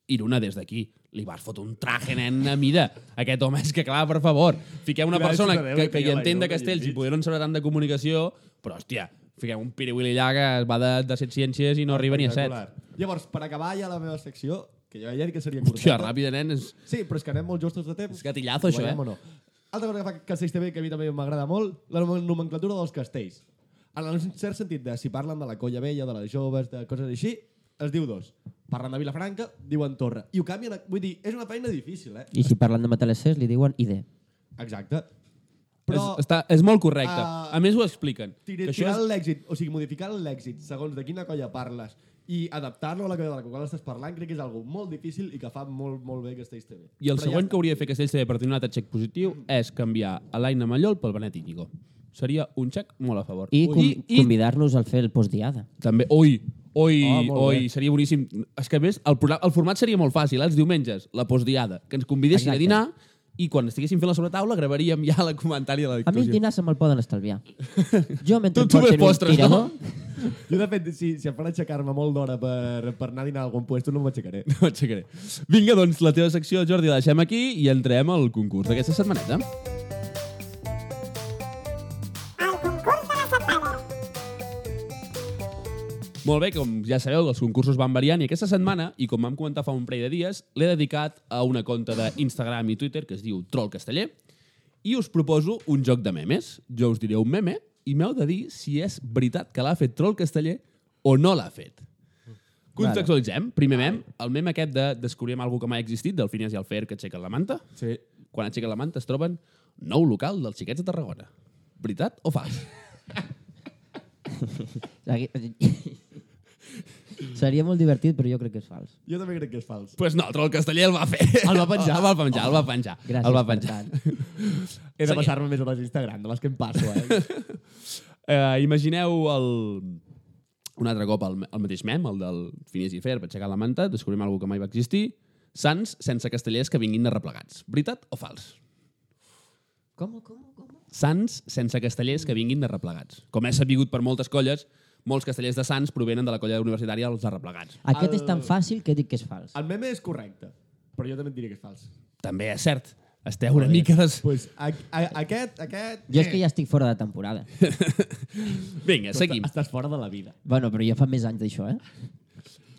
Iruna, des d'aquí, li vas fotre un traje, nen, a mida. Aquest home, és que clar, per favor, fiquem una
Clar,
persona
és una veu
que,
que
que hi
tenia la
entén de
Iruna
castells
allà
i
enmig.
podrien saber tant de comunicació, però, hòstia, fiquem un piriwili allà que es va de, de set ciències i no arriba ni a set.
Espectacular. Llavors, per acabar ja la meva secció, que jo ja dic que seria
Hòstia,
curteta.
ràpida, nen, és...
Sí, però és que anem molt justos de temps.
És gatillazo, això,
Guanyem
eh?
o No. Altra cosa que fa Castells TV, que a mi també m'agrada molt, la nom- nomenclatura dels castells. En el cert sentit de si parlen de la colla vella, de les joves, de coses així, es diu dos. Parlen de Vilafranca, diuen Torre. I ho canvien... a- Vull dir, és una feina difícil, eh?
I si parlen de matalassers li diuen ID.
Exacte.
Però,
Però
és, està, és molt correcte.
Ah,
a més, ho expliquen.
tira,
Que això
tirar
és,
l'èxit, o sigui, modificar l'èxit segons de quina colla parles i adaptar-lo a la colla de la qual estàs parlant, crec que és algo molt difícil i que fa molt, molt bé Castells TV.
I el
Però ja
següent
està.
que hauria de fer Castells TV per tenir un altre xec positiu és canviar a l'Aina Mallol pel Benet Íñigo. Seria un xec molt a favor.
I, com,
i, i
convidar-nos al fer el postdiada.
També, oi, oi,
Ah,
oh,
molt
oi,
bé.
seria boníssim. És que a més, el, programa, el format seria molt fàcil, eh? els diumenges, la postdiada, que ens convidessin
Exacte.
a dinar i quan estiguéssim fent la sobretaula gravaríem ja el comentari de la
A mi els
discussió.
dinars se me'l poden estalviar. Jo mentre
Tu- tu
em portin
ves postres,
un tirador,
Jo, de fet, si, si em fan aixecar-me molt d'hora per, per anar a dinar a algun lloc, no m'aixecaré.
No m'aixecaré. Vinga, doncs, la teva secció, Jordi, la deixem aquí i entrem al concurs d'aquesta setmaneta.
al concurs de la setmana.
Molt bé, com ja sabeu, els concursos van variant i aquesta setmana, i com vam comentar fa un parell de dies, l'he dedicat a una conta d'Instagram i Twitter que es diu Troll Casteller i us proposo un joc de memes. Jo us diré un meme i m'heu de dir si és veritat que l'ha fet Troll Casteller o no l'ha fet. Contextualitzem. Primer mem, el meme aquest de descobrim algú que mai ha existit, Delfines i el Fer que aixequen la manta.
Sí.
Quan aixequen la manta es troben nou local dels xiquets de Tarragona. Veritat o fals?
Seria molt divertit, però jo crec que és fals.
Jo també crec que és fals.
Pues no, el troll casteller el va fer.
El va penjar.
El va penjar, el va penjar.
Gràcies,
el va
per
penjar.
tant.
He de
Seguim.
passar-me més hores a Instagram, de les que em passo, eh?
Eh, imagineu el... un altre cop el, el mateix mem, el del Finés i Fer, per aixecar la manta, descobrim algú que mai va existir, sants sense castellers que vinguin de replegats. Veritat o fals?
Com, com, com?
Sants sense castellers que vinguin de replegats. Com és sabigut per moltes colles, molts castellers de Sants provenen de la colla universitària dels arreplegats.
Aquest
El-
és tan fàcil que dic que és fals.
El meme és correcte, però jo també et diré que és fals.
També és cert, esteu una mica des...
Pues, a, a, aquest, aquest...
Jo és que ja estic fora de temporada.
Vinga, seguim.
Estàs fora de la vida.
bueno, però ja fa més anys d'això, eh?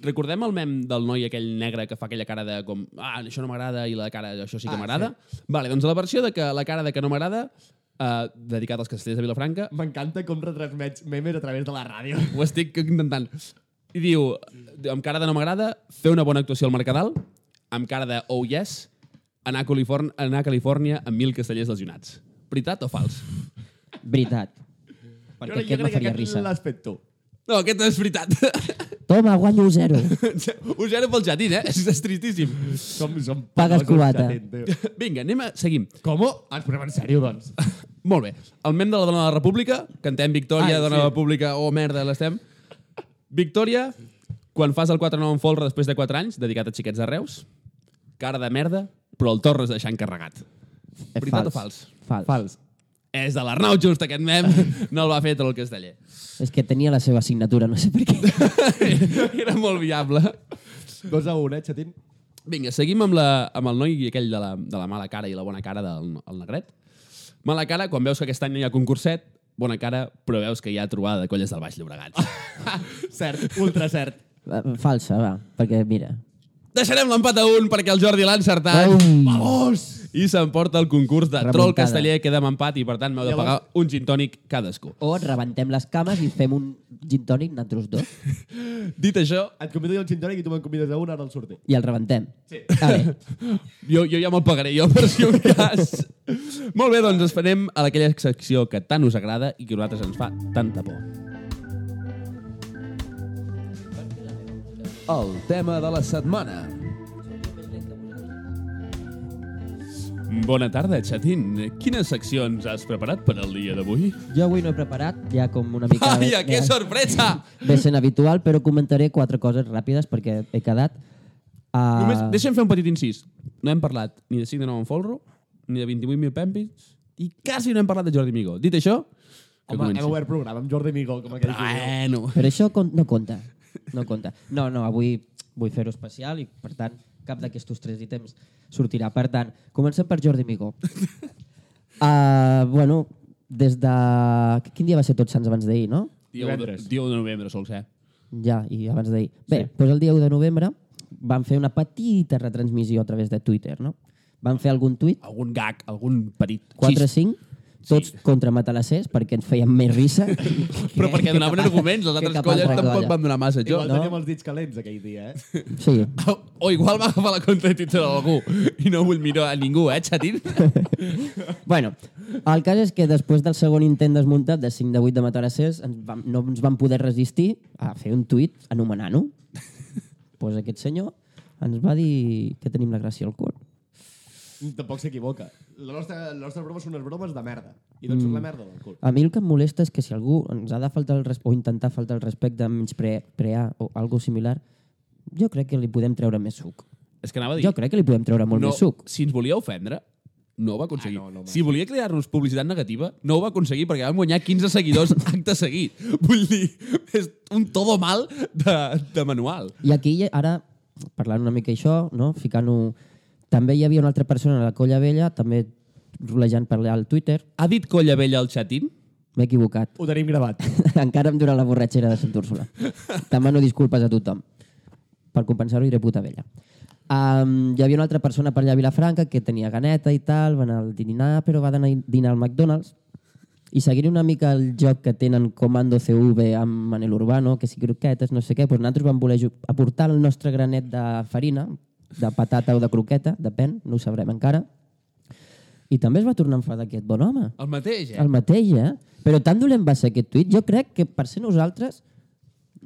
Recordem el mem del noi aquell negre que fa aquella cara de com, ah, això no m'agrada, i la cara de això sí que
Ah,
m'agrada? Vale, doncs la versió de que la cara de que no m'agrada, eh, dedicat als castellers de Vilafranca,
M'encanta com retransmets memes a través de la ràdio.
ho estic intentant. I diu, amb cara de no m'agrada, fer una bona actuació al Mercadal, amb cara de oh yes, anar a, Califòrnia, anar a Califòrnia amb mil castellers lesionats. Veritat o fals?
Veritat.
Jo-
Perquè
jo
aquest no
crec que
faria risa.
l'has fet tu.
No, aquest és veritat.
Toma, guanyo zero.
Us era pel xatín, eh? És, és tristíssim.
Som, som
Pagues cubata.
Vinga, anem a... Seguim.
Com? Ens posem en sèrio, doncs.
Molt bé. El mem de la dona de la república, cantem Victòria,
Ai,
Ai, dona de
sí.
la república, oh merda, l'estem. Victòria, quan fas el 4-9 en folre després de 4 anys, dedicat a xiquets de Reus, cara de merda, però el Torres deixant carregat.
És
Veritat o
Fals.
Fals.
És de l'Arnau just aquest mem, no el va fer tot el casteller.
És que tenia la seva signatura, no sé per què.
Era molt viable.
Dos a un, eh, xatín?
Vinga, seguim amb, la, amb el noi aquell de la, de la mala cara i la bona cara del el negret. Mala cara, quan veus que aquest any no hi ha concurset, bona cara, però veus que hi ha trobada de colles del Baix Llobregat.
Cert, ultra cert.
Falsa, va. Eh, Perquè, mira,
Deixarem l'empat a un perquè el Jordi l'ha encertat.
Ai.
Vamos! I s'emporta el concurs de
Remuntada.
troll casteller, queda amb empat i per tant m'heu de pagar un gin tònic cadascú.
O ens rebentem les cames i fem un gin tònic, nosaltres dos,
Dit això,
Et convido jo al gin tònic i tu me'n convides a un, ara el sortir.
i el rebentem. Sí. A veure,
jo, jo ja me'l pagaré jo per si un cas. Molt bé, doncs esperem a aquella secció que tant us agrada i que a nosaltres ens fa tanta por.
El tema de la setmana.
Bona tarda, xatín. Quines seccions has preparat per al dia d'avui?
jo avui no he preparat, ja com una mica...
Vaja,
eh?
ja
que sorpresa!
Ve sent habitual, però comentaré quatre coses ràpides perquè he quedat... Uh,
Només, deixa'm fer un petit incís. No hem parlat ni de 5 de 9 en folro, ni de 28.000 pèmpits, i quasi no hem parlat de Jordi Migó. Dit això, que
Home, hem
comenci.
obert programa amb Jordi Migó, com aquell eh? que diu.
Bueno.
Però això con- no compta. No compta. No, no, avui vull fer-ho especial i, per tant, cap d'aquests tres ítems sortirà. Per tant, comencem per Jordi Migó. Uh, bueno, des de... Quin dia va ser Tots Sants abans d'ahir, no?
Dia u de,
Divendres.
dia u de novembre sols, eh?
Ja, i abans d'ahir. Bé, doncs el dia 1 de novembre van fer una petita retransmissió a través de Twitter, no? Van fer algun tuit,
Algun gag, algun petit.
4 o
xist.
5, tots contra Matalassers, perquè ens feien més risa.
Però perquè donaven arguments, els
que
altres
cap
colles
altra
tampoc
colla.
van donar massa. Jo,
Igual
no.
teníem els dits calents aquell dia, eh?
Sí,
O igual va agafar la contra de Twitter d'algú. I no vull mirar a ningú, eh, xatín?
Bueno, el cas és que després del segon intent desmuntat de 5 de 8 de Matarassers ens vam, no ens vam poder resistir a fer un tuit anomenant-ho. pues aquest senyor ens va dir que tenim la gràcia al cul.
Tampoc s'equivoca. La nostra, la nostra broma són unes bromes de merda. I doncs
Mm.
surt la merda del cul.
A mi el que em molesta és que si algú ens ha de faltar el res- o intentar faltar el respecte, menysprear o algo similar, jo crec que li podem treure més suc.
És que anava a dir...
Jo crec que li podem treure molt
no,
més suc.
si ens volia ofendre, no ho va aconseguir.
Ah,
Ah,
no,
no,
no,
no, si volia crear-nos publicitat negativa, no ho va aconseguir perquè vam guanyar 15 seguidors acte seguit. Vull dir, és un todo mal de, de manual.
I aquí, hi ha- ara, parlant una mica això, no? ficant-ho... També hi havia una altra persona a la Colla Vella, també rolejant per allà al Twitter.
Ha dit colla vella al xatín?
M'he equivocat.
Ho tenim gravat.
Encara em dura la borratxera de Sant Úrsula. Demano disculpes a tothom. Per compensar-ho iré puta vella. Um, hi havia una altra persona per allà a Vilafranca que tenia ganeta i tal, va anar al dinar, però va anar a dinar al McDonald's. I seguint una mica el joc que tenen Comando CV amb Manel Urbano, que si croquetes, no sé què, doncs nosaltres vam voler ju- aportar el nostre granet de farina, de patata o de croqueta, depèn, no ho sabrem encara. I també es va tornar a enfadar aquest bon home.
El mateix, eh?
El mateix, eh? Però tan dolent va ser aquest tuit. Jo crec que per ser nosaltres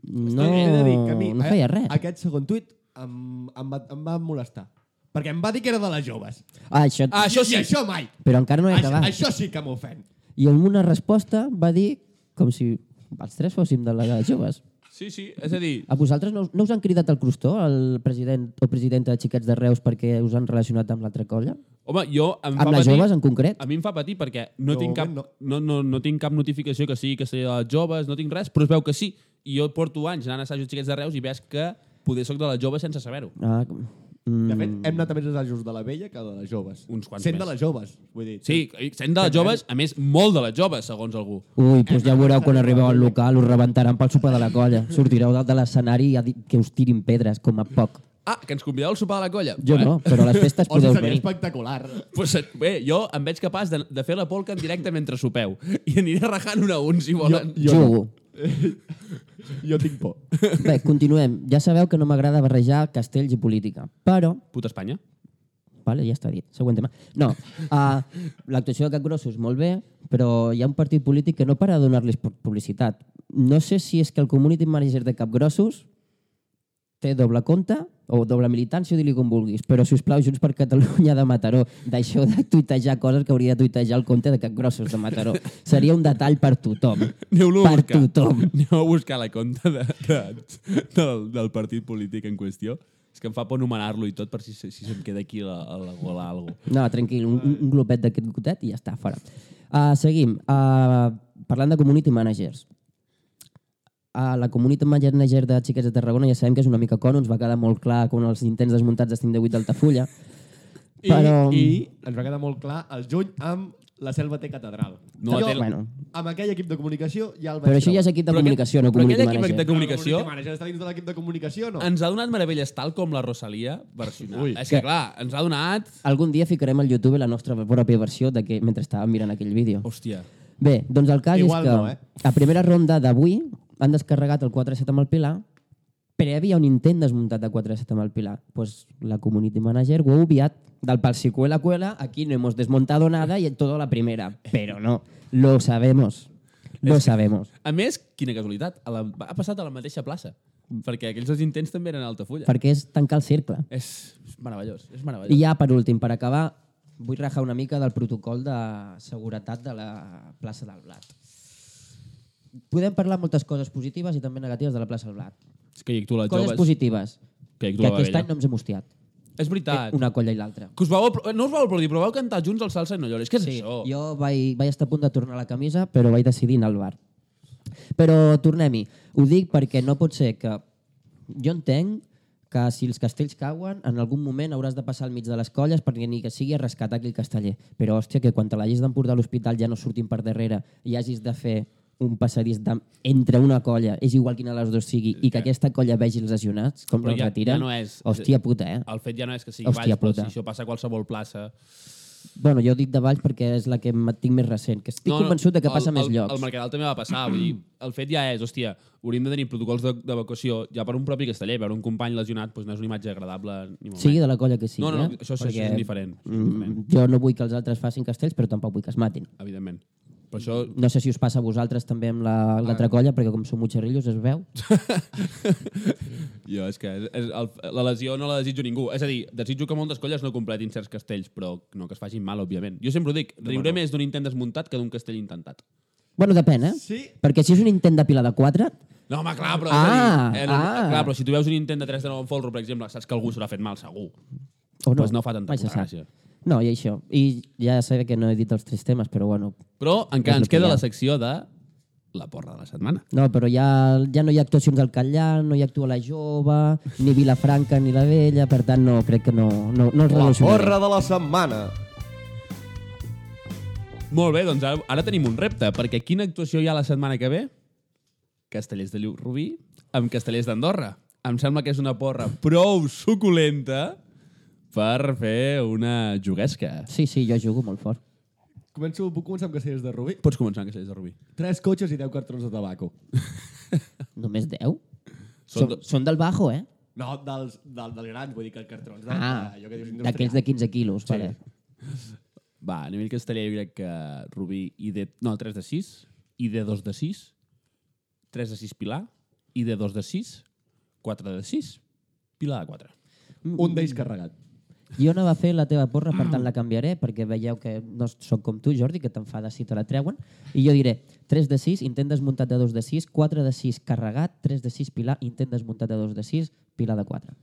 no,
He de dir que a mi, eh?
no feia
a-
res.
Aquest segon tuit em, em, va, em va molestar. Perquè em va dir que era de les joves.
Ah, això...
Ah, això
I
sí.
això mai.
Però encara no he
Això,
acabat.
això sí que m'ofèn.
I en una resposta va dir com si els tres fóssim de la de les joves.
Sí, sí, és a dir...
A vosaltres no, us- no us han cridat al crustó, el president o presidenta de Xiquets de Reus, perquè us han relacionat amb l'altra colla?
Home, jo em
Amb
fa
les
patir...
joves en concret?
A mi em fa patir perquè no,
De
tinc cap, no.
moment,
No, no, no tinc cap notificació que sigui que sigui de les joves, no tinc res, però es veu que sí. I jo porto anys anant a assajos xiquets de Reus i veig que poder soc de les joves sense saber-ho.
Ah,
De
mm,
fet, hem anat a més assajos de la vella que de les joves.
Uns quants
Sent
més.
de les joves, vull dir.
Sí, sent de les joves, a més, molt de les joves, segons algú.
ui, doncs ja veureu quan arribeu al local, us rebentaran pel sopar de la colla. Sortireu dalt de l'escenari i a dir que us tirin pedres, com a poc.
Ah, que ens convideu al sopar de la colla.
Jo no, però a les festes
O sigui,
podeu
seria
venir.
espectacular.
Pues, bé, jo em veig capaç de, de fer la polca en directe mentre sopeu. I aniré rajant un a un, si volen. Jo,
Jo no.
Jugo.
Jo tinc por.
Bé, continuem. Ja sabeu que no m'agrada barrejar castells i política, però...
Puta Espanya.
Vale, ja està dit. Següent tema. No, uh, l'actuació de Cap Grossos, molt bé, però hi ha un partit polític que no para de donar-los pu- publicitat. No sé si és que el community manager de Cap Grossos té doble compte o doble militància, o dir-li com vulguis, però, si us plau, Junts per Catalunya de Mataró, deixeu de tuitejar coses que hauria de tuitejar el compte de Cap Grossos de Mataró. Seria un detall per tothom.
Aneu-lo a
per
buscar.
tothom.
Aneu a buscar la conta de, de, del, del partit polític en qüestió. És que em fa por anomenar-lo i tot per si, se- si se'm queda aquí la, a la gola o alguna
No, tranquil, un, un- un glopet d'aquest gotet i ja està, fora. Uh, seguim. Uh, parlant de community managers. Uh, la community manager de Xiquets de Tarragona ja sabem que és una mica cono, ens va quedar molt clar com els intents desmuntats de 5 de 8 d'Altafulla.
I,
Però-
I ens va quedar molt clar el juny amb la selva té catedral.
No la
jo,
té la-
Bueno.
amb aquell equip de comunicació ja el vaig
Però això ja és
trobar.
equip de comunicació, no
però
community
aquell equip de
manager.
comunicació
El community manager està dins de l'equip de comunicació, no?
ens ha donat meravelles tal com la Rosalia versionada.
Ui.
Ui, és que,
Que-
clar, ens ha donat...
Algun dia ficarem al YouTube la nostra pròpia versió de que, mentre estàvem mirant aquell vídeo.
Hòstia.
Bé, doncs el cas
Igual
és que
no, eh?
a primera ronda d'avui han descarregat el 4-7 amb el Pilar previ a un intent desmuntat de 4-7 amb el Pilar. Pues la community manager ho ha obviat del palsicuela cuela, aquí no hemos desmontado nada y en toda la primera. Pero no, lo sabemos. Lo sabemos.
A més, quina casualitat, a la, ha passat a la mateixa plaça. Perquè aquells dos intents també eren a Altafulla.
Perquè és tancar el cercle.
És, és meravellós, és meravellós.
I ja, per últim, per acabar, vull rajar una mica del protocol de seguretat de la plaça del Blat. Podem parlar moltes coses positives i també negatives de la plaça del Blat.
És que hi actua les
Coses
joves.
positives.
Que hi actua
Que
la
aquest any
vella.
no ens hem hostiat.
És veritat.
Eh, Una colla i l'altra.
Que us vau, apl- no us vau aplaudir, però vau cantar junts el salsa i no llores. Què és
Sí,
això?
jo vaig, vaig estar a punt de tornar la camisa, però vaig decidir anar al bar. Però tornem-hi. Ho dic perquè no pot ser que... Jo entenc que si els castells cauen, en algun moment hauràs de passar al mig de les colles perquè ni que sigui a rescatar aquell casteller. Però, hòstia, que quan te l'hagis d'emportar a l'hospital ja no surtin per darrere i hagis de fer un passadís de, entre una colla, és igual quina de les dues sigui, i que aquesta colla vegi els lesionats, com
Però
els
ja-
retiren,
ja no és-
hòstia puta, eh?
El fet ja no és que sigui
Hòstia
Hòstia, Valls, però
puta.
si això passa a qualsevol plaça...
Bueno, jo dic de Valls perquè és la que em- tinc més recent, que estic no, convençut de que passa
el,
a més
el,
llocs.
El Mercadal també va passar. vull dir, el fet ja és, hòstia, hauríem de tenir protocols de- d'evacuació ja per un propi casteller. Veure un company lesionat doncs no és una imatge agradable ni molt
Sigui
menys.
de la colla que sigui.
No, no, no,
eh?
això- això- això és diferent, això és
Mm, jo no vull que els altres facin castells, però tampoc vull que es matin.
Evidentment. Però això...
No sé si us passa a vosaltres també amb la- l'altra la, colla, perquè com som mutxerrillos es veu.
Jo, és que és, és el, la lesió no la desitjo ningú. És a dir, desitjo que moltes colles no completin certs castells, però no que es facin mal, òbviament. Jo sempre ho dic, riuré més d'un intent desmuntat que d'un castell intentat.
Bueno, depèn, eh?
Sí.
Perquè si és un intent de pilar de 4,
No, home, clar, però...
Ah,
és a dir, eh,
ah.
Clar, però si tu veus un intent de 3 de 9 en folro, per exemple, saps que algú s'haurà fet mal, segur.
o no?
Pues no fa tanta
Mai se
puta
sap.
gràcia.
No, i això. I ja sé que no he dit els tres temes, però bueno.
Però encara ens
És el que hi
queda
ha.
la secció de la porra de la setmana.
No, però ja, ja no hi ha actuacions al Catllà, no hi actua la jove, ni Vilafranca ni la vella, per tant, no, crec que no, no, no els
La
relacionaré.
porra de la setmana.
Molt bé, doncs ara, ara tenim un repte, perquè quina actuació hi ha la setmana que ve? Castellers de Lluc Rubí amb Castellers d'Andorra. Em sembla que és una porra prou suculenta per fer una juguesca.
Sí, sí, jo jugo molt fort.
Començo, puc començar amb castellers de Rubí?
Pots començar amb Castellers de Rubí.
Tres cotxes i deu cartrons de tabaco.
Només 10?
Són
Són,
do-
són del bajo, eh?
No, dels, del, dels grans, vull dir que cartrons de...
Ah,
allò que dius
d'aquells de 15 quilos, sí. vale.
Va, a nivell casteller jo crec que Rubí i de... No, 3 de 6, i de 2 de 6, 3 de 6 Pilar, i de 2 de 6, 4 de 6, Pilar de 4.
Un d'ells carregat.
Mm, Jo no va fer la teva porra, per tant la canviaré, perquè veieu que no sóc com tu, Jordi, que t'enfades si te la treuen, i jo diré 3 de 6, intent desmuntat de 2 de 6, 4 de 6 carregat, 3 de 6 pilar, intent desmuntat de 2 de 6, pilar de 4.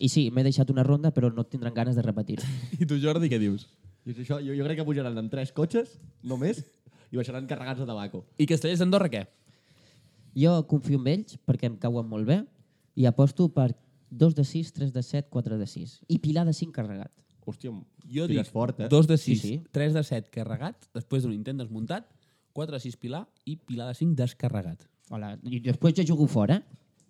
I sí, m'he deixat una ronda, però no tindran ganes de repetir-ho.
I tu, Jordi, què dius?
I és això, jo, jo crec que pujaran amb tres cotxes, només, i baixaran carregats de tabaco.
I Castellers d'Andorra què?
Jo confio en ells, perquè em cauen molt bé, i aposto per 2 de 6, 3 de 7, 4 de 6, i pilar de 5 carregat.
Hòstia,
Jo
tires
dic
fort, eh?
2 de
Sí,
6,
sí.
3 de 7 carregat, després d'un intent desmuntat, 4 de 6 Pilar i Pilar de 5 descarregat.
Hola, i després jo jugo fora.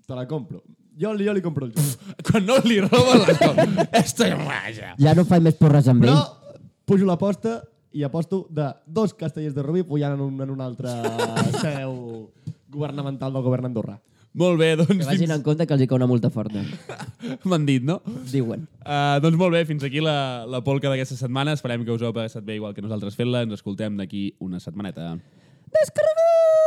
Te la compro. Jo, li- jo li compro el joc.
Quan no li roben la cosa, esto es raya.
Ja no faig més porres amb
Però
ell.
pujo l'aposta i aposto de dos castellers de Rubí pujant en, un, en una altra seu governamental del govern andorrà.
Molt bé,
Que
doncs
vagin en compte que els hi cau una multa forta.
fins... m'han dit, no?
Diuen.
Uh, doncs molt bé, fins aquí la, la polca d'aquesta setmana. Esperem que us heu passat bé igual que nosaltres fent-la. Ens escoltem d'aquí una setmaneta.
Descarregat!